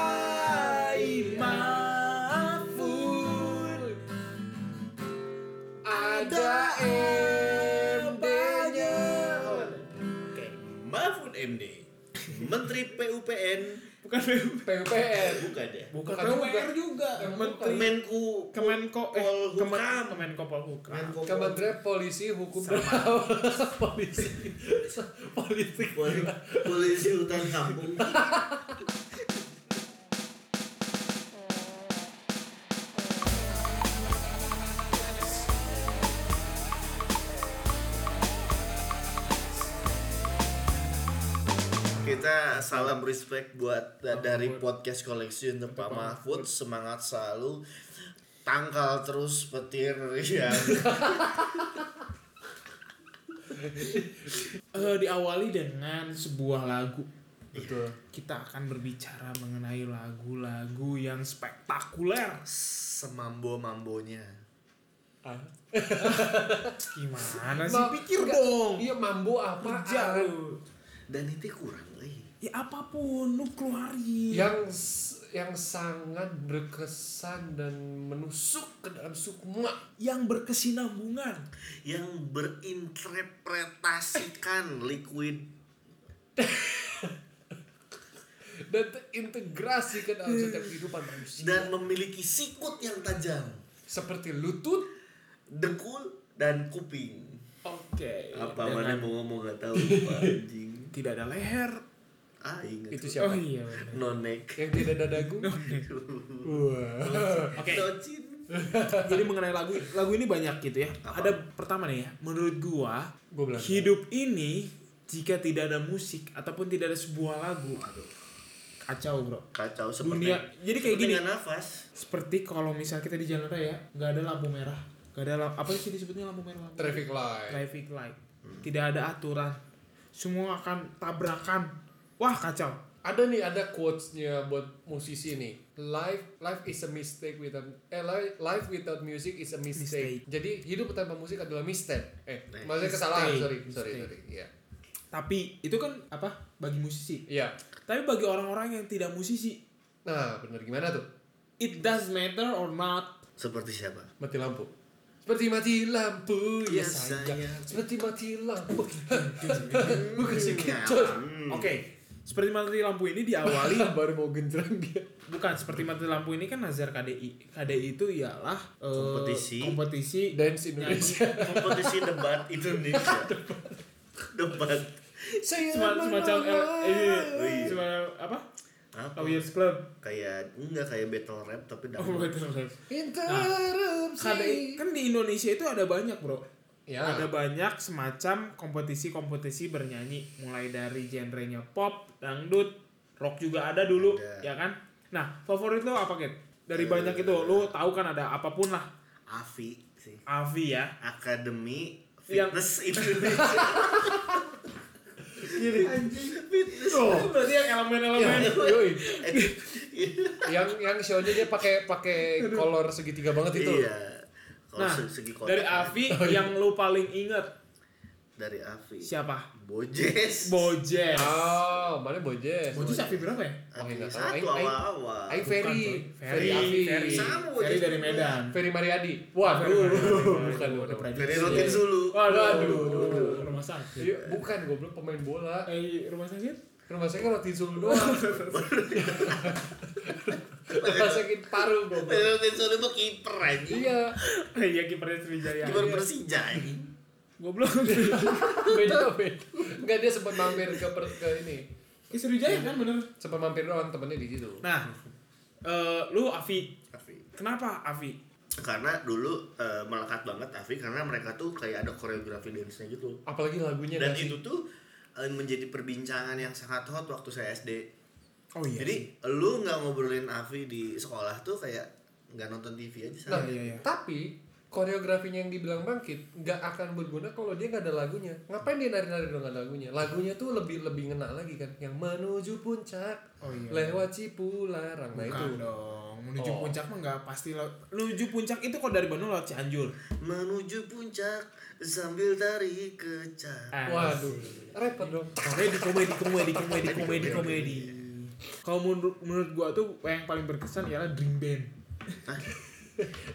mencintai maafun ada MD-nya Oke. Mahfud MD, Menteri PUPN, Bukan PUP. PUPR bukan ya? Bukan PUPR juga. juga Kementerian- Kemenku Kemenko eh Kemen Polhukam. Kemenko Polhukam. Menko Kementerian Polisi Hukum dan Polisi Politik Pol- Polisi Hutan Kampung. Kita salam respect buat da- dari podcast collection Pak Mahfud semangat selalu tangkal terus petir yang Eh, diawali dengan sebuah lagu. Betul Kita akan berbicara mengenai lagu-lagu yang spektakuler. semambo mambonya. Ah. Gimana sih? Nah, Pikir enggak. dong. Iya mambu apa Kerja lu. Dan itu kurang eh. lagi. Ya apapun lu keluarin. yang s- yang sangat berkesan dan menusuk ke dalam sukma yang berkesinambungan. yang berinterpretasikan liquid dan terintegrasi ke dalam setiap kehidupan Iya. manusia dan memiliki sikut yang tajam, seperti lutut dengkul dan kuping. Oke. Apa Dengan mana mau ngomong gak tahu lupa, anjing. Tidak ada leher. Ah ingat. Itu siapa? Oh iya. Nonek. yang tidak ada dagu wah Oke. Docin. Jadi mengenai lagu lagu ini banyak gitu ya. Apa? Ada pertama nih ya. Menurut gua gue bilang hidup ini jika tidak ada musik ataupun tidak ada sebuah lagu kacau bro. Kacau seperti. Dunia. Jadi kayak seperti gini. nggak nafas. Seperti kalau misal kita di jalan raya nggak ada lampu merah, nggak ada lampu, apa sih disebutnya lampu merah? Lampu traffic light traffic light. Tidak ada aturan. Semua akan tabrakan. Wah kacau. ada nih ada quotesnya buat musisi nih life life is a mistake without eh life, life without music is a mistake, jadi hidup tanpa musik adalah mistake eh Nah, maksudnya kesalahan mistake. sorry sorry Mistake. sorry iya Tapi itu kan apa bagi musisi. iya Tapi bagi orang-orang yang tidak musisi, nah bener gimana tuh it does matter or not. Seperti siapa? mati lampu seperti mati lampu Iya, ya, Ya, sayang. sayang. seperti mati lampu bukan si kecil Hmm. Oke, seperti mati lampu ini diawali baru mau genderang dia bukan seperti mati lampu ini kan Nazar KDI. KDI itu ialah eh, Kompetisi. kompetisi dance nyanyi. Indonesia Kompetisi debat Indonesia. debat. saya Sema- semacam L, eh, Wih. semacam apa? Apa? Lawyers Club. Kayak enggak kayak battle rap tapi Oh, dangdut. betul, betul. KDI interupsi kan di Indonesia itu ada banyak, Bro. ya Ada banyak semacam kompetisi-kompetisi bernyanyi, mulai dari genrenya pop, dangdut, rock juga ada dulu, Ada. ya kan? Nah, favorit lo apa, Ket? Dari Eh. banyak itu, lo tahu kan ada apapun lah, Afi sih. Avi ya. Akademi Yang- Fitness Indonesia. Gini. Anjing fitness. Oh. berarti yang elemen-elemen Ya, yoi. Eh, yang yang shownya dia pakai pakai kolor segitiga banget itu Iya. Gitu. Kalau Nah, se- segi kotak dari Avi Oh, iya. yang lu paling inget dari Afi. siapa? Bojes. Bojes. oh mana bojes Bojes Avi berapa ya? Wah, Afi nggak tahu. satu Aing- Aing- awal-awal. Aing Ferry, Ferry Ferry Afi Ferry, Sama Bojes Ferry dari juga. Medan. Ferry Mariadi waduh bukan Udah bukan. Dari prediksi. rutin dulu. Waduh, Waduh. rumah sakit. Iya, bukan goblok pemain bola Eh, rumah sakit? Rumah sakit kan roti sulu doang. Rumah sakit paru Dari goblok. rutin dulu itu kiper aja. Iya, Iya, kipernya Sriwijaya. Kiper Persija aja. Goblok. beda beda. Enggak dia sempat mampir ke per, ke ini. Ke Sriwijaya kan bener. Sempat mampir doang temennya di situ. Nah, eh, lu Avi, Afi. kenapa Avi? Karena dulu eh, melekat banget Afi karena mereka tuh kayak ada koreografi dance-nya gitu. Apalagi lagunya Iya Dan nggak sih? itu tuh eh, menjadi perbincangan yang sangat hot waktu saya SD. Oh Jadi lu nggak ngobrolin Avi di sekolah tuh kayak nggak nonton TV aja sama. Nah, Iya, iya. tapi koreografinya yang dibilang bangkit nggak akan berguna kalau dia nggak ada lagunya. Ngapain dia nari-nari dong nggak ada lagunya? Lagunya tuh lebih lebih ngena lagi kan. Yang menuju puncak Oh iya. lewat Cipularang. Nah itu. Bukan dong. Menuju Oh. puncak mah nggak pasti lo. Menuju puncak itu kalau dari Bandung lewat Cianjur. Menuju puncak sambil tari kecak. Ah, Waduh, repot dong. Eh, Makanya di komedi, komedi, komedi, komedi, komedi. Kalau menurut menurut gua tuh yang paling berkesan ialah Dream Band. Nah.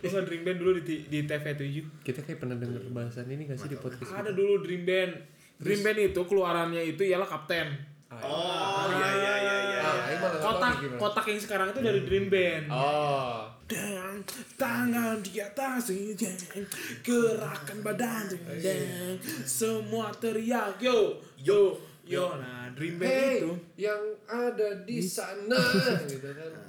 Lu nggak Dream Band dulu di, T- di TV7? Kita kayak pernah denger bahasan ini gak sih di podcast? Ada dulu Dream Band. Dream Band itu keluarannya itu ialah Kapten. Oh, iya iya iya iya. Ah, ini malah Kotak gimana? kotak yang sekarang itu dari Dream Band. Oh. Dang, tangan di atas dang, gerakan badan dang, semua teriak yo yo yo nah dream band Hey, itu yang ada di sana gitu kan.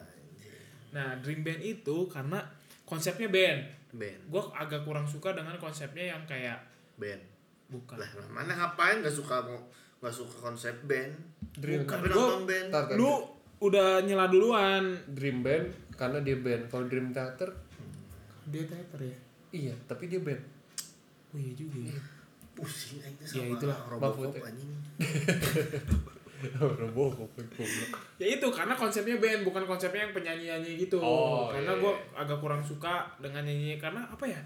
nah dream band itu karena konsepnya band Ben, gue agak kurang suka dengan konsepnya yang kayak Ben. bukan Lah, lah, mana ngapain nggak suka nggak suka konsep band? Dream Bukan. Tapi Gua- nonton band. Tar, tar, lu udah nyela duluan Dream Band karena dia band. Kalau Dream Theater dia teater ya iya, tapi dia band. oh iya juga ya Pusing aja Ya, sama itulah, Robocop Mahfud. anjing. Robocop goblok. ya itu karena konsepnya band bukan konsepnya yang penyanyi-nyanyi gitu Oh, karena iya, gue iya. agak kurang suka dengan nyanyi karena apa ya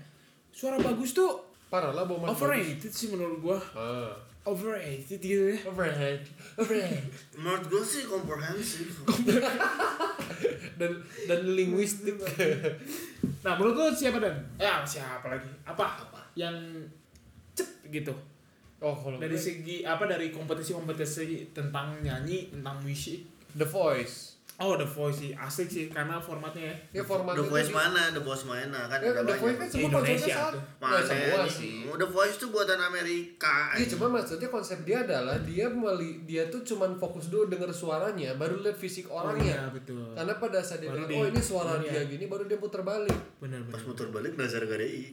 suara bagus tuh Parah lah Bowman. overrated sih menurut gua Ah. overrated gitu ya Overhead. Overhead. Menurut gue sih komprehensif. dan dan linguistik. nah menurut lu siapa dan ya siapa lagi apa, yang cep gitu oh, kalau dari gue, segi apa dari kompetisi kompetisi tentang nyanyi tentang musik The Voice. oh the voice sih asik sih karena formatnya ya Ya format itu The Voice di- mana? The Voice mana? Kan Ya, The ada Voice banyak. kan semua Indonesia konsepnya sama. tuh. Nah, Mana semua ini? sih. The Voice tuh buatan Amerika. Iya, cuma maksudnya konsep dia adalah dia meli dia tuh cuman fokus dulu denger suaranya, baru lihat fisik orangnya. Iya, betul Karena pada saat Oh, dia Baru bilang, di- oh ini suara iya. dia gini, baru dia putar balik. benar benar Pas muter balik Nazar Gadei.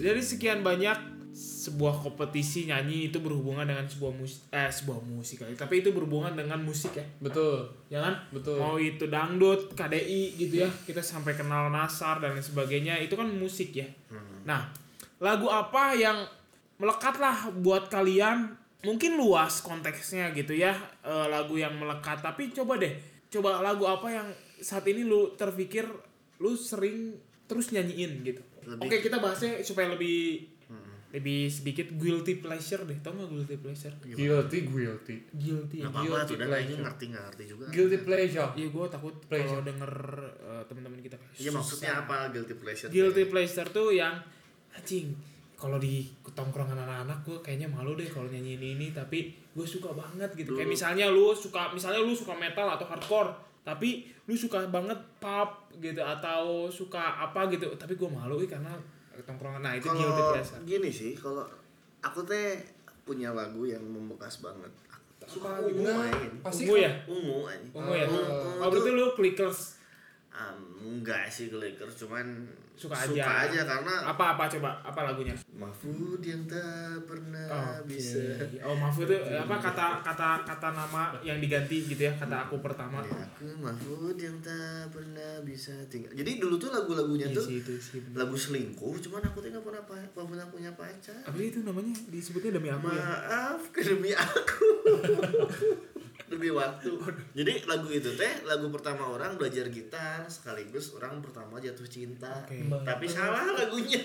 Dari sekian banyak sebuah kompetisi nyanyi itu berhubungan dengan sebuah musik eh sebuah musik aja. tapi itu berhubungan dengan musik ya. Betul, Jangan betul. mau itu dangdut, KDI gitu ya. Kita sampai kenal Nasar dan lain sebagainya, itu kan musik ya. Nah, lagu apa yang melekat lah buat kalian? Mungkin luas konteksnya gitu ya, eh, lagu yang melekat, tapi coba deh. Coba lagu apa yang saat ini lu terpikir lu sering terus nyanyiin gitu. Lebih- Oke, kita bahasnya supaya lebih lebih sedikit guilty pleasure deh. Tau gak guilty pleasure? Guilty, guilty. Guilty. Gak apa-apa Guilty tuh dan pleasure. Aing ngerti nggak ngerti juga. Guilty pleasure. Iya gue takut Pleasure. kalau denger uh, teman-teman kita kayak, Iya "Susah." maksudnya apa guilty pleasure? Guilty pleasure tuh yang anjing kalau di tongkrongan anak-anak gue kayaknya malu deh kalau nyanyi ini ini tapi gue suka banget gitu kayak Dulu. misalnya lu suka misalnya lu suka metal atau hardcore tapi lu suka banget pop gitu atau suka apa gitu tapi gue malu ih, karena tongkrongan nah itu guilty Kalau pleasure gini sih, kalau aku teh punya lagu yang membekas banget. Aku suka Apa ungu gitu? main. Pasti Ungu ya Ungu anjing. ungu ya Ungu. oh berarti lu clickers Um, enggak sih Lakers cuman Suka aja. karena apa apa coba apa lagunya Mahfud yang tak pernah Oke. bisa gitu. Oh Mahfud itu apa kata kata kata nama yang diganti gitu ya kata aku pertama. Ya, aku Mahfud yang tak pernah bisa tinggal jadi dulu tuh lagu-lagunya Iya tuh sih itu sih. bener. lagu selingkuh cuman aku tuh nggak pernah pa- nggak pernah punya pacar Apa itu namanya disebutnya demi apa ya? maaf demi aku demi waktu jadi lagu itu teh lagu pertama orang belajar gitar sekaligus orang pertama jatuh cinta Oke. tapi salah lagunya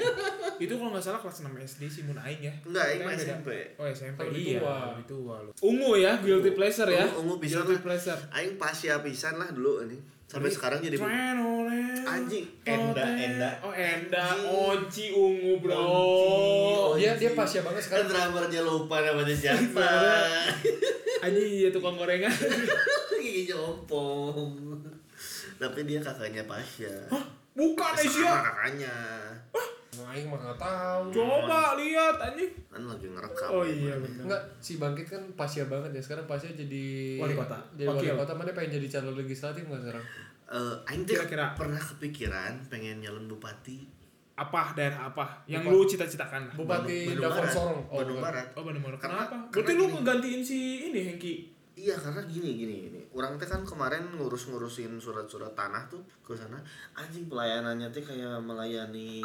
Itu kalau nggak salah kelas 6 SD sih Mun Aing ya. enggak ini Kan mah beda. SMP Oh SMP Kalau iya. ditua. Itu lu. Ungu ya guilty pleasure ya. Ungu- ungu bisa Guilty lah. pleasure. Aing pasya pisan lah dulu ini sampai Tapi- sekarang jadi Tren, oleh. Iya, Anjing. Tote. Enda, Enda. Oh Enda, Anjing. Oci ungu bro. Dia Onci, onci. Oh, iya, dia pasya banget kan sekarang. drummernya lupa namanya siapa Anjing iya tukang gorengan. gigi jompong tapi dia kakaknya Pasya Bukan sama Asia. kakaknya Aing mah nggak tahu. Coba lihat anjing. kan lagi ngerekam Oh iya benar. Enggak, si Bangkit kan pasya banget ya. Sekarang pasya jadi Wali kota. Jadi wali Wakil. kota mana pengen jadi calon legislatif enggak sekarang? Eh, Aing teh Kira-kira. pernah kepikiran pengen nyalon bupati apa daerah apa yang Bupa- lu cita-citakan lah. Bupati Bandung Davon Barat Sorong. Bandung bukan. Barat Oh benar-benar Karena- kenapa? karena Berarti lu gini. ngegantiin si ini Hengki. Iya karena gini gini gini. Orang teh kan kemarin ngurus-ngurusin surat-surat tanah tuh ke sana. Anjing pelayanannya teh kayak melayani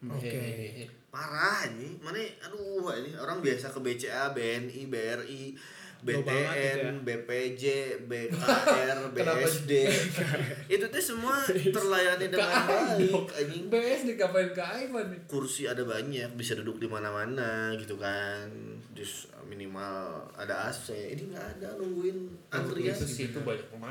Oke. Hehehe. ya? parah anjing. Mana aduh ini orang biasa ke BCA, BNI, BRI, Jauh banget gitu ya. BTN, BPJ, BKR, Kenapa? BSD. itu tuh semua terlayani dengan baik anjing. BS dikapain ke Aiman nih Kursi ada banyak, bisa duduk di mana-mana gitu kan. Terus minimal ada AC. Ini nggak ada nungguin antrian itu sih itu banyak mau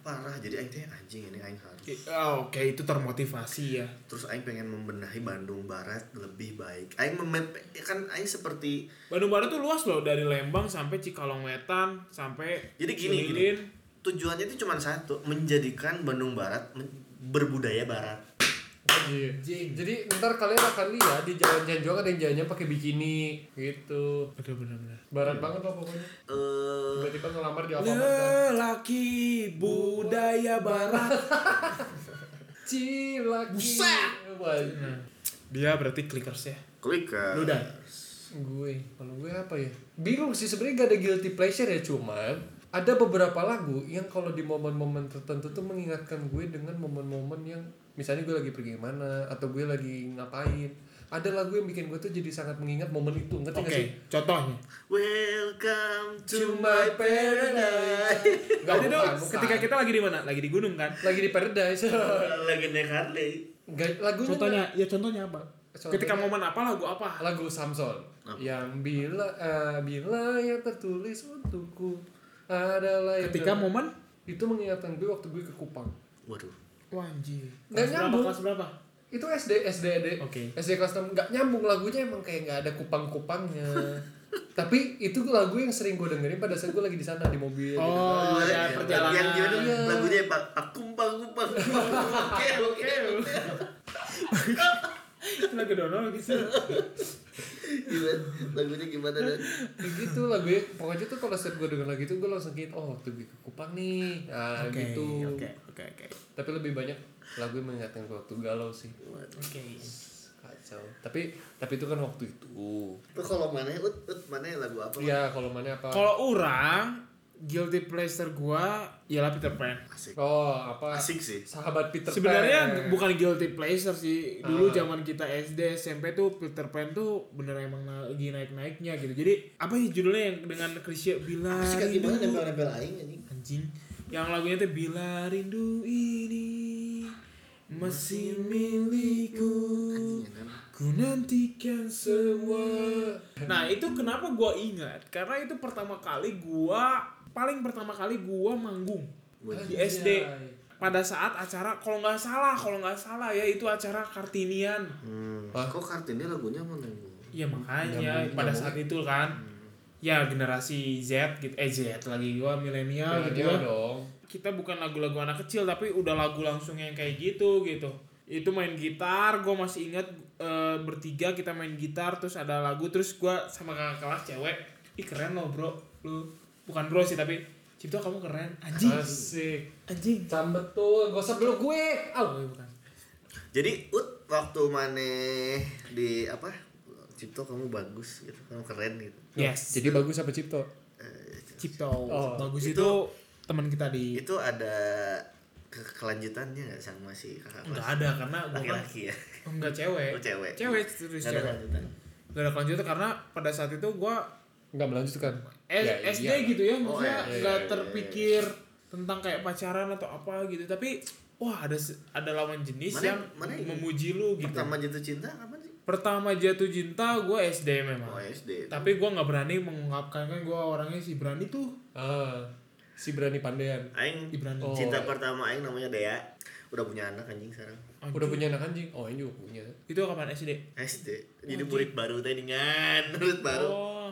parah. Jadi aing teh anjing ini aing harus. I- oh, Oke, itu termotivasi ya. Terus aing pengen membenahi Bandung Barat lebih baik. Aing memep kan aing seperti Bandung Barat tuh luas loh dari Lembang sampai Cikalong Wetan sampai Jadi gini, gini. Cililin. tujuannya itu cuma satu, menjadikan Bandung Barat men- berbudaya barat. Anjing. Iya. Jadi ntar kalian akan lihat di jalan Cianjur ada yang jalannya pakai bikini gitu. Bener bener bener. Barat banget lah pokoknya. Eh, Tiba-tiba ngelamar Iya, di apa kan. Lelaki budaya barat. Cilaki. Buset. Wah, iya. Dia berarti clickers ya. klik ke Lu dah. gue kalau gue apa ya bingung sih sebenarnya gak ada guilty pleasure ya cuman ada beberapa lagu yang kalau di momen-momen tertentu tuh mengingatkan gue dengan momen-momen yang misalnya gue lagi pergi mana atau gue lagi ngapain ada lagu yang bikin gue tuh jadi sangat mengingat momen itu ngerti Oke, gak sih contohnya. Welcome to my paradise. Gak, Tadi tuh bukan, bukan. ketika kita lagi di mana? Lagi di gunung kan? lagi di paradise Lagi naik Harley. Gak, lagunya Contohnya, ya contohnya apa? Contohnya- Ketika momen apa lagu apa? lagu Samson Apa? yang bila eh, bila yang tertulis untukku adalah yang Ketika momen itu mengingatkan gue waktu gue ke Kupang Waduh. Wanji. Nggak nyambung. Kelas berapa? itu SD SD SD Oke. SD kelas 6 nggak nyambung lagunya emang kayak nggak ada kupang-kupangnya tapi itu lagu yang sering gue dengerin pada saat gue lagi di sana di mobil gitu. Oh, ya, perjalanan. Yang gimana Iya. lagunya ya, Pak? Pak kumpang kumpang. kumpang. Oke oke. oke. Lagu dono gitu. Gimana? Lagunya gimana dan? Kayak gitu lagunya pokoknya tuh kalau setiap gue denger lagu itu gue langsung gitu oh waktu gue ke kupang nih nah gitu oke, oke. tapi lebih banyak lagu yang mengingatkan gue waktu galau sih Oke. kacau tapi tapi itu kan waktu itu Itu kalau mana ut ut mana lagu apa? ya kalau mana apa Kalau orang guilty pleasure gua ialah Peter Pan. Asik. oh apa Asik sih. sahabat Peter Pan. Sebenarnya bukan guilty pleasure sih. Dulu Ah. zaman kita SD, SMP tuh Peter Pan tuh bener emang na- lagi naik-naiknya gitu. Jadi apa ya judulnya yang dengan Krisya bila Asik kan gimana rindu- nempel-nempel aing anjing. anjing yang lagunya tuh bila rindu ini masih milikku Iya, kan? ku nantikan semua nah itu kenapa gua ingat karena itu pertama kali gua paling pertama kali gua manggung di Anjay. SD pada saat acara kalau nggak salah kalau nggak salah ya itu acara kartinian Hmm. Hah? Kok kartini lagunya mana? Bu? ya makanya Nyambung, pada nyambung. saat itu kan ya generasi Z gitu eh Z lagi gua milenial ya, gitu dia ya dong kita bukan lagu-lagu anak kecil tapi udah lagu langsung yang kayak gitu gitu itu main gitar gue masih inget eh, bertiga kita main gitar terus ada lagu terus gue sama kakak kelas cewek ih keren loh bro lu bukan bro sih tapi Cipto kamu keren anjing asik anjing Cam betul, gak usah peluk gue. oh, Au. iya, bukan Jadi ut waktu mana di apa? Cipto kamu bagus gitu, kamu keren gitu. yes Jadi bagus apa Cipto? Eh, Cipto Oh, bagus itu, itu- teman kita di itu ada ke kelanjutannya nggak sama si kakak nggak kelas ada karena gue kan laki-laki ya Oh, nggak cewek Oh, cewek cewek terus Nggak ada cewek kelanjutan gak ada kelanjutan karena pada saat itu gue Enggak melanjutkan. S- Ya, SD iya. gitu ya Oh, maksudnya iya, iya, nggak iya, iya. terpikir tentang kayak pacaran atau apa gitu tapi wah ada se- ada lawan jenis Mana- yang mana ini? memuji lu gitu pertama jatuh cinta kapan sih pertama jatuh cinta gue SD memang oh SD Nah, tapi gue nggak berani mengungkapkan kan gue orangnya si berani tuh Ah, si berani pandean. Aing Ibran Oh. cinta pertama Aing namanya Dea udah punya anak anjing sekarang Anjing. Udah punya anak anjing? Oh, ini juga punya. itu kapan SD SD jadi murid baru teh dengan murid baru oh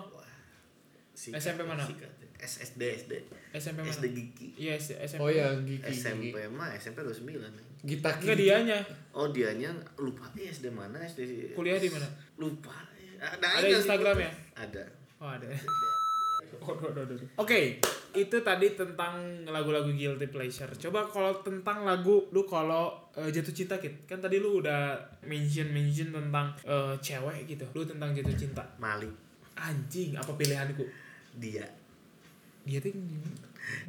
Sikat, SMP mana? sikat. SSD SD SMP mana SD Gigi iya SD SMP Oh ya, Gigi. SMP Gigi. mah SMP 29 Gita Enggak Gigi. dianya oh dianya lupa eh, SD mana SD kuliah di mana lupa Ada Aing nggak sih? Instagram ya? ada oh ada Aduh, aduh, aduh, aduh. Oke, itu tadi tentang lagu-lagu guilty pleasure. Coba kalau tentang lagu lu kalau eh, jatuh cinta Kit. Kan tadi lu udah mention mention tentang eh, cewek gitu. Lu tentang jatuh cinta. Malik Anjing, apa pilihanku? dia Dia tuh gimana?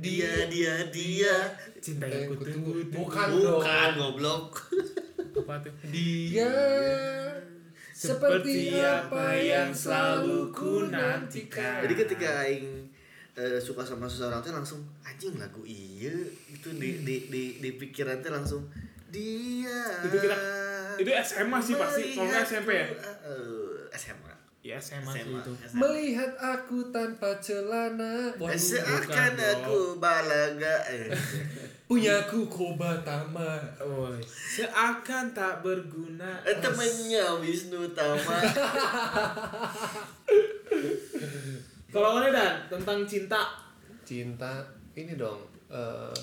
dia dia dia cinta Yang yang ku kutunggu. tunggu. tunggu. Bukan dong. bukan goblok Apa tuh? Dia seperti apa yang selalu ku Ah. nantikan. jadi ketika aing eh, eh, suka sama seseorang tuh langsung anjing lagu iya itu di di di, di pikiran tuh langsung dia Itu kita- itu SMA sih pasti, kalau nggak SMP ya? Eh, SMA Ya SMA, sih SMA itu. SMA. Melihat aku tanpa celana Waduh, bukan Seakan dong. aku balaga eh. Punyaku kobatama Oh, seakan tak berguna. Eh, Temennya Wisnu Tama Kalau mana dan tentang cinta Cinta Ini dong eh,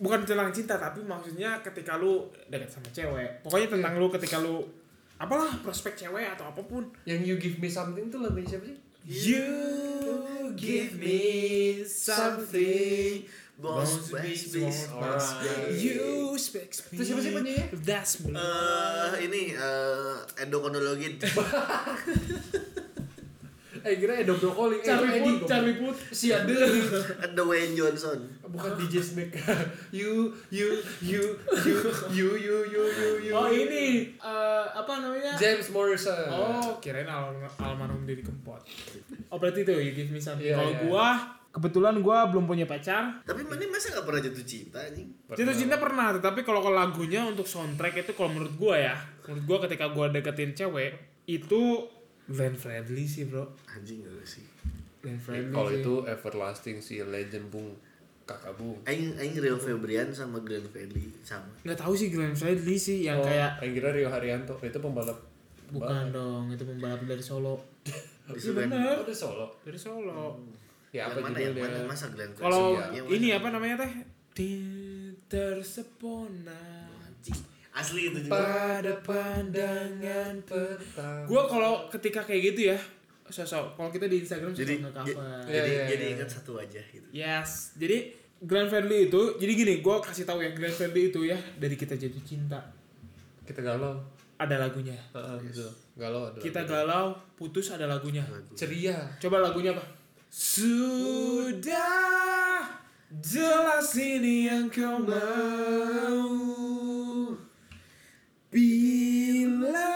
bukan tentang cinta tapi maksudnya ketika lu dekat sama cewek pokoknya tentang lu ketika lu apalah prospek cewek atau apapun Yang You Give Me Something tuh lagunya siapa sih? you Boss Bass Bass Boss Bass you speak Itu siapa sih Uh, penyanyinya? that's me Eh, ini eh endokonologi Eh kira Edo Brokoli eh, Charlie Eddie, Put goblok. Charlie Put Si Ade Dwayne Johnson Bukan DJ Snake You You You You You You You You You oh ini Uh, eh, apa namanya James Morrison oh kirain al almarhum Didi Kempot oh berarti itu you give me something Iya, kalau iya. gua kebetulan gua belum punya pacar tapi mana masa nggak pernah jatuh cinta anjing Jatuh cinta pernah, tetapi kalau kalau lagunya untuk soundtrack itu kalau menurut gua ya, menurut gua ketika gua deketin cewek itu Glenn Fredly sih bro, anjing gak sih Glenn Fredly. Iya, Kalau sih. itu everlasting si legend Bung Kakak Bung Aing Aing Rio Febrian sama Glenn Fredly sama nggak tahu sih Glenn Fredly sih yang Oh, kayak yang kira Rio Haryanto itu pembalap bukan dong itu pembalap dari Solo. Iya Disuruh yang- bener Oh, dari Solo. dari Solo. Ya yang apa mana yang mana judulnya? masa Glenn Fredly Kalau Iya, ya, ini mana? apa namanya teh? Tersepona Anjing. asli itu juga pada pandangan. pertama. Gua kalau ketika kayak gitu ya, sosok kalau kita di Instagram suka jadi nge-cover. ja- Iya, jadi iya, jadi iya. ingat satu aja gitu Yes, jadi Glenn Fredly itu, jadi gini, gue kasih tahu ya Glenn Fredly itu ya dari kita jatuh cinta Kita galau. ada lagunya, Heeh, betul. Galau ada. kita galau putus ada lagunya. ceria. Coba lagunya apa? Sudah jelas ini yang kau mau bila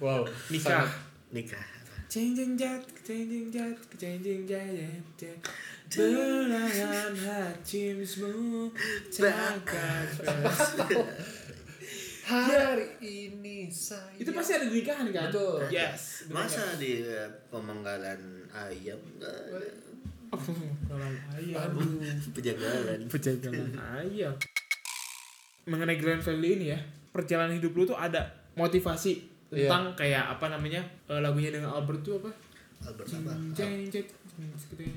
Wow. nikah. nikah Changing jat, changing jat, changing jat, jat, jat. Belahan hatimu takkan Hari ini saya. Itu pasti ada di nikahan kan? Betul. Yes. masa di eh, pemenggalan ayam eh, nggak ada. Penggalan ayam. Aduh. penjagalan Pejagalan ayam. Mengenai Grand Family ini ya, perjalanan hidup lu tuh ada motivasi Iya. tentang kayak apa namanya eh, lagunya dengan Albert tuh apa? Albert Jeng, apa jeng, jeng, jeng,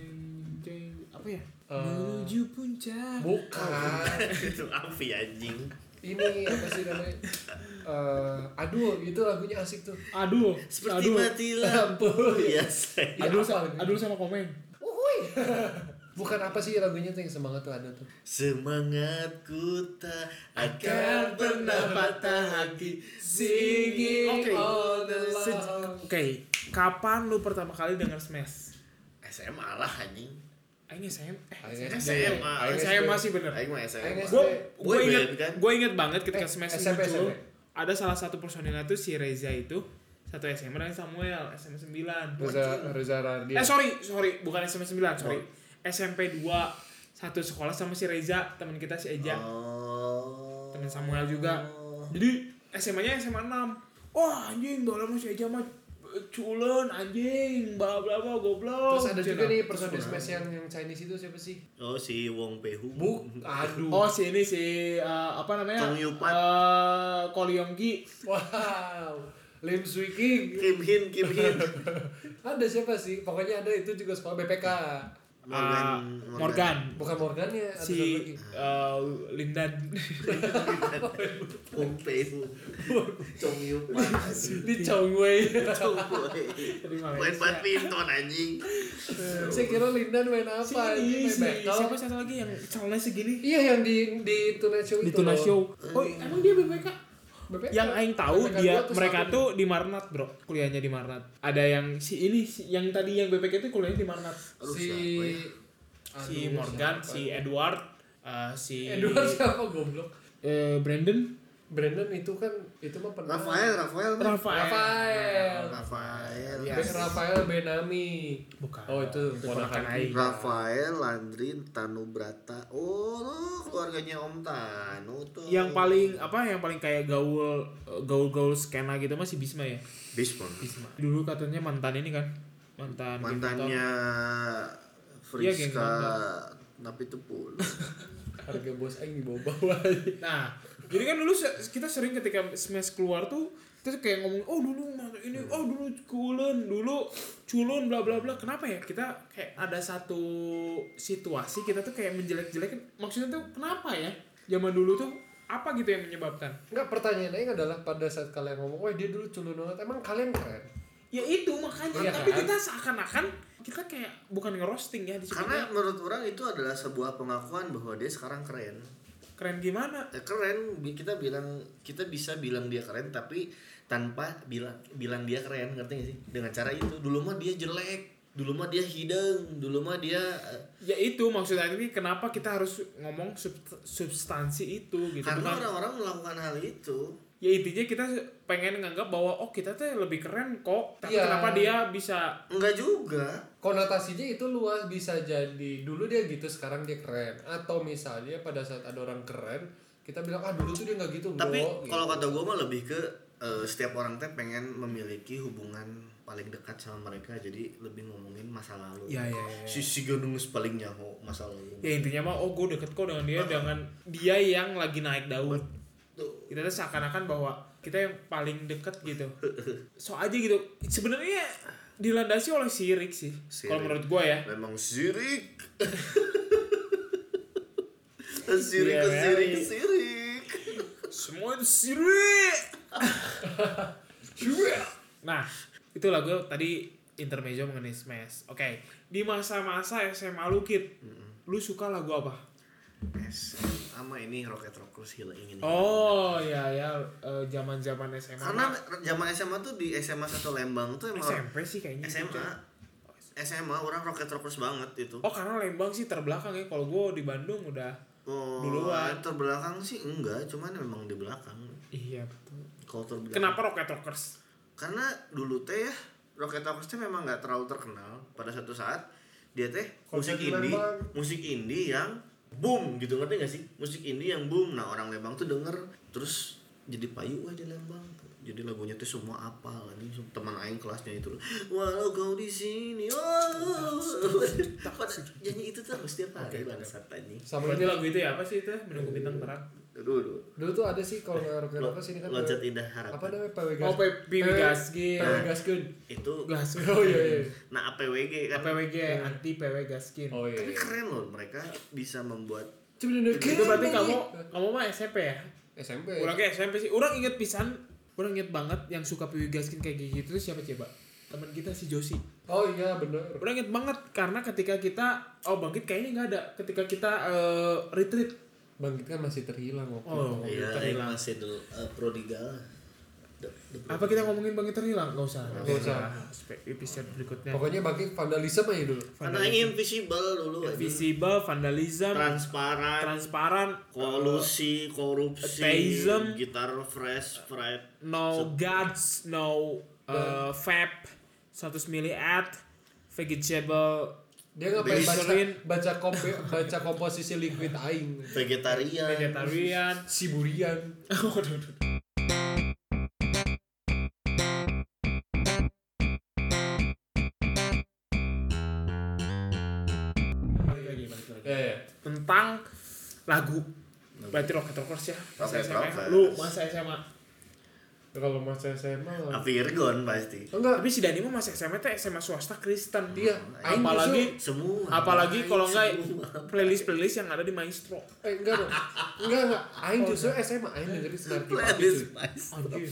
jeng, apa ya? Eh, Menuju puncak. Bukan. itu Afi anjing Ah, ini apa sih namanya? Eh, aduh, itu lagunya asik tuh. Aduh, seperti Iya, aduh. mati lampu biasa Ya, aduh, Ya apa sa- lagunya? aduh sama komen. Uhuy. Bukan apa sih lagunya tuh yang semangat tuh ada tuh. Semangatku tak akan pernah patah hati Singing Oke. all the Se- long. Oke, kapan lu pertama kali denger Smash? SMA lah anjing Aing SM, eh, Aing SMA. Aing SMA sih bener. Aing mah SMA gue Aing SD. gue Boy inget band, kan? gue inget banget ketika Eh, smash SMP, muncul SMP. ada salah satu personilnya tuh si Reza itu satu SMA dan Samuel SMA 9 Reza Reza Radian. eh sorry sorry bukan SMA 9 sorry SMP 2 satu sekolah sama si Reza teman kita si Eja Oh. teman Samuel juga jadi SMA nya SMA 6 wah anjing dalam si Eja mah eh, culun anjing bla bla bla goblok Terus ada juga Cina. nih personil smash yang yang Chinese itu siapa sih? Oh si Wong Pei Hu. Buk, aduh. Oh si ini si eh, apa namanya? Tong Yupat. Eh, Ko Leong Gi. Wow. Lim Swee King. Kim Hin, Kim Hin. Ada siapa sih? Pokoknya ada itu juga sekolah BPK. Ah, Morgan. Bukan Morgan ya, ada satu si lagi. eh, Lindan Wong Pei Hu. Chong Yu Pan. di Chongwei. Chong Wei. dari Main Malaysia. badminton anjing. Saya kira Lindan main Si apa? ini, Main si- siapa bekel. satu lagi yang calonnya segini Iya yang di di Tonight Show di itu. Tuna loh. Show. Oh, emang dia BPK? BPK. Yang aing tahu BPK dia dua atau mereka satu tuh di Marnat, Bro. Kuliahnya di Marnat. Ada yang si ini si, yang tadi yang BPK itu kuliahnya di Marnat. Aduh, si siapa ya? Si Aduh, Morgan, siapa? si Edward, eh, si Edward siapa goblok? eh, Brandon, Brandon itu kan itu mah pernah Rafael, Rafael. nih. Rafael. Rafael. Rafael. Iya. Ben- Rafael Benami. Bukan. Oh, itu ponakan ponakan Aing. Rafael Landry Tanubrata. Oh, lo keluarganya Om Tanu tuh. Yang paling apa yang paling kayak gaul eh, gaul-gaul skena gitu masih Bisma ya. Bismon. Bisma. Dulu katanya mantan ini kan. Mantan Game Mantannya Iya, geng Friska Napi Tepul. Harga bos aing dibawa-bawa. aja. Nah, jadi kan dulu se- kita sering ketika Smash keluar tuh kita tuh kayak ngomong, oh dulu mah ini, oh dulu kulun, dulu culun, bla bla bla. Kenapa ya? Kita kayak ada satu situasi kita tuh kayak menjelek-jelekin. Maksudnya tuh kenapa ya? Zaman dulu tuh apa gitu yang menyebabkan? Enggak pertanyaan aing adalah pada saat kalian ngomong, "Wah, dia dulu culun banget." Emang kalian keren? Ya itu makanya. Iya Tapi kan? kita seakan-akan kita kayak bukan ngerosting ya di Karena Karena menurut orang itu adalah sebuah pengakuan bahwa dia sekarang keren. keren gimana? Eh, keren bi- kita bilang kita bisa bilang dia keren tapi tanpa bilang bilang dia keren ngerti gak sih dengan cara itu dulu mah dia jelek dulu mah dia hidung dulu mah dia eh, Ya itu maksudnya ini kenapa kita harus ngomong sub- substansi itu gitu. karena Bukan- orang-orang melakukan hal itu ya intinya kita pengen nganggap bahwa oh kita tuh lebih keren kok tapi Iya. kenapa dia bisa enggak juga Konotasinya itu luas bisa jadi dulu dia gitu, sekarang dia keren. Atau misalnya pada saat ada orang keren, kita bilang, "Ah, dulu tuh dia nggak gitu, Bro." tapi gitu. kalau kata gue mah lebih ke eh, setiap orang teh pengen memiliki hubungan paling dekat sama mereka jadi lebih ngomongin masa lalu Ya, ya, ya. si si Gendungus paling nyaho masa ya lalu intinya mah oh gue deket kok dengan dia dengan dia yang lagi naik daun Tuh. kita tuh seakan-akan bahwa kita yang paling deket gitu so aja gitu sebenarnya dilandasi oleh sirik sih Sirik. kalau menurut gue ya memang sirik sirik Iya, sirik Meli. sirik semua itu sirik Iya. Nah, itulah gue tadi intermezzo mengenai Smash. Oke, di masa-masa SMA lu Kit, lu suka lagu apa? Yes. ama ini roket rokus gila ingin Oh, ya ya eh, zaman-zaman SMA. karena zaman SMA tuh di SMA satu Lembang tuh emang SMP sih kayaknya. gitu ya. SMA SMA orang roket rokus banget itu Oh, karena Lembang sih terbelakang ya. Kalau gue di Bandung udah Oh, Duluan. terbelakang sih enggak, cuman memang di belakang. Iya, betul. Kalau terbelakang. Kenapa Rocket Rockers? Karena dulu teh ya, Rocket Rockers teh memang nggak terlalu terkenal. Pada suatu saat dia teh Konser musik di indie, Lembang. musik indie yang boom gitu ngerti gak sih? Musik indie yang boom. Nah orang Lembang tuh denger terus jadi payu wah di Lembang. Jadi lagunya tuh semua apa anjing Sem- teman aing kelasnya itu. Walau kau di sini. Oh. Pada- Nyanyi itu terus setiap hari bangsat anjing. sama Berarti ini lagu itu ya apa sih itu? Menunggu bintang terang. Aduh, aduh. dulu tuh ada sih kalau nggak rocker Lo- rocker sini kan loncat Nah. PW indah harapan. apa namanya PW Oh, Gas- Pipi Eh. Gaskin. PW Gaskin itu Gas. oh iya iya nah APWG kan PWG anti PW Gaskin. oh iya tapi keren loh mereka bisa membuat cuma Itu berarti kamu kamu mah SMP ya? SMP Orang ke SMP sih. Orang inget pisan. Orang inget banget yang suka piwi gaskin kayak gitu tuh siapa coba? Teman kita si Josi. oh iya bener Orang inget banget karena ketika kita oh bangkit kayaknya nggak ada. Ketika kita eh, retreat. bangkit kan masih terhilang waktu itu. Oh, ya terhilang. masih dulu eh, prodigal Apa kita ngomongin bangkit terhilang? Gak usah. Nggak usah. Aspek episode berikutnya. pokoknya bangkit vandalisme aja dulu karena ini invisible dulu aja. Visible, vandalism, transparan transparan, kolusi korupsi Atheism. gitar fresh fried no guards, no eh, vape, 100 mili ad, vegetable, dia ngapain baca Glycerin. baca kompe, baca komposisi liquid aing vegetarian vegetarian, siburian Balik lagi, balik lagi. eh tentang lagu berarti Rocket Rockers ya masa Rocket SMA Rockers. lu masa SMA Ya, kalau masa SMA lah. Virgon pasti enggak tapi si Dani mah masa SMA tuh SMA swasta Kristen iya aing Apalagi- justru- semua apalagi kalau Semua. enggak playlist playlist yang ada di Maestro eh enggak dong. enggak enggak aing justru SMA aing dengerin Snarky Puppy cuy. playlist pasti Anjir,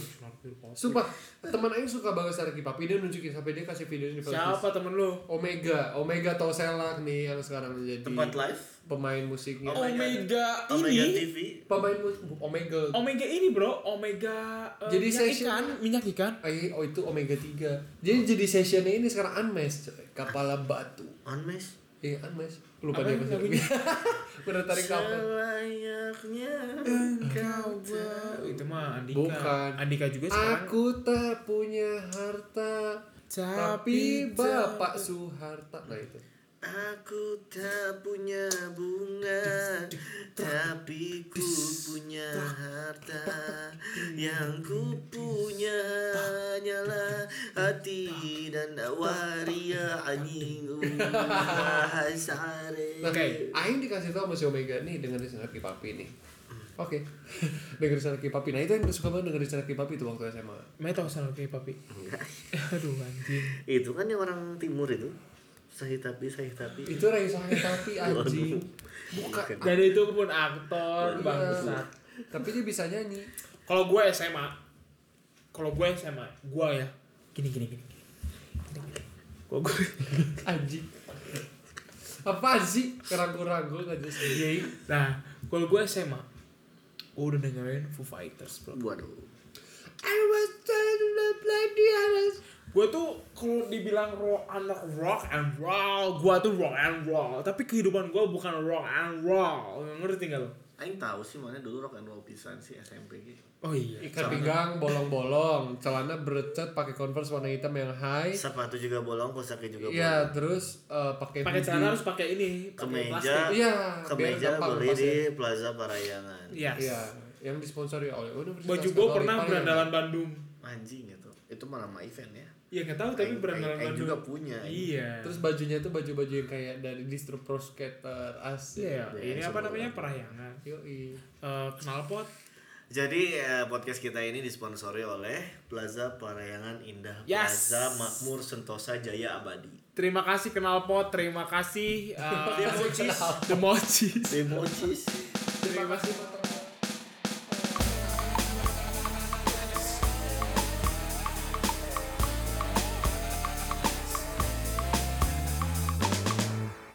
Sumpah, teman Aing suka banget Sarki Papi dia nunjukin sampai dia kasih videonya di siapa temen lu Omega, Omega Toselak nih yang sekarang jadi tempat live pemain musiknya. Oh. Omega Omega ini TV Pemain musik Omega. Omega ini bro Omega eh, Jadi minyak session- ikan minyak ikan Ay, oh itu Omega 3. Jadi jadi sessionnya ini sekarang unmatched coy. Kepala batu. on mesh Iya, Anmes. Lupa Apa dia yang pasti. lagunya? Udah tarik kapan? Selayaknya Kau tahu. itu mah Andika. Bukan. Andika juga sekarang. Aku tak punya harta, tapi Bapak Soeharta. Nah itu. Aku tak punya bunga Tapi ku punya harta Yang ku punya hanyalah hati dan waria anjing Hasare Nah, Oke. Aing dikasih tahu sama si Omega nih dengan sana Kipapi nih. Oke. dengerin sana Kipapi. Nah itu yang suka banget dengerin sana Kipapi itu waktu SMA. Mana tahu salah kayak papi. Aduh anjing. Itu kan yang orang timur itu Sahih tapi, sahih tapi Itu Raisa Tapi anjing. Bukan. Dan itu pun aktor bangsat. Iya. Tapi dia bisa nyanyi. Kalau gue SMA, kalau gue SMA, gue ya gini gini gini. Gini, gini. Kalau gue Anjing. Apa sih? Keragu-ragu aja sendiri. Nah, kalau gue SMA, gue udah dengerin Foo Fighters, bro. Waduh I was trying to play the others. Gue tuh kalau dibilang rock anak rock and roll, gue tuh rock and roll. Tapi kehidupan gue bukan rock and roll. Ngerti gak lo? Aing tahu sih mana dulu rock and roll pisan sih SMP gitu Oh iya. Ikat pinggang bolong-bolong, celana berecet pakai converse warna hitam yang high. Sepatu juga bolong, kosaknya juga Iya, terus eh, pakai Pakai hoodie. celana harus pakai ini, pakai Kemeja. plastik. Iya, bolong Ke biar meja gampang beli di lepasnya. Plaza Parayangan Yes. Iya, yang disponsori Oh, ya oleh Universitas Baju gue Katolik pernah Palembang. berandalan Bandung. anjing itu itu malah nama event ya Ya nggak tahu tapi Aing- berandalan Aing- Aing Bandung. juga punya, Aing. Iya. Terus bajunya tuh baju-baju yang kayak dari distro pro skater asik. Iya, Iya, ini apa semua. namanya perayangan. Yoi. Eh, knalpot. jadi eh, podcast kita ini disponsori oleh Plaza Parayangan Indah Yes. Plaza Makmur Sentosa Jaya Abadi Terima kasih knalpot, terima kasih eh, Democis The Mochis. Democis Terima kasih Pak.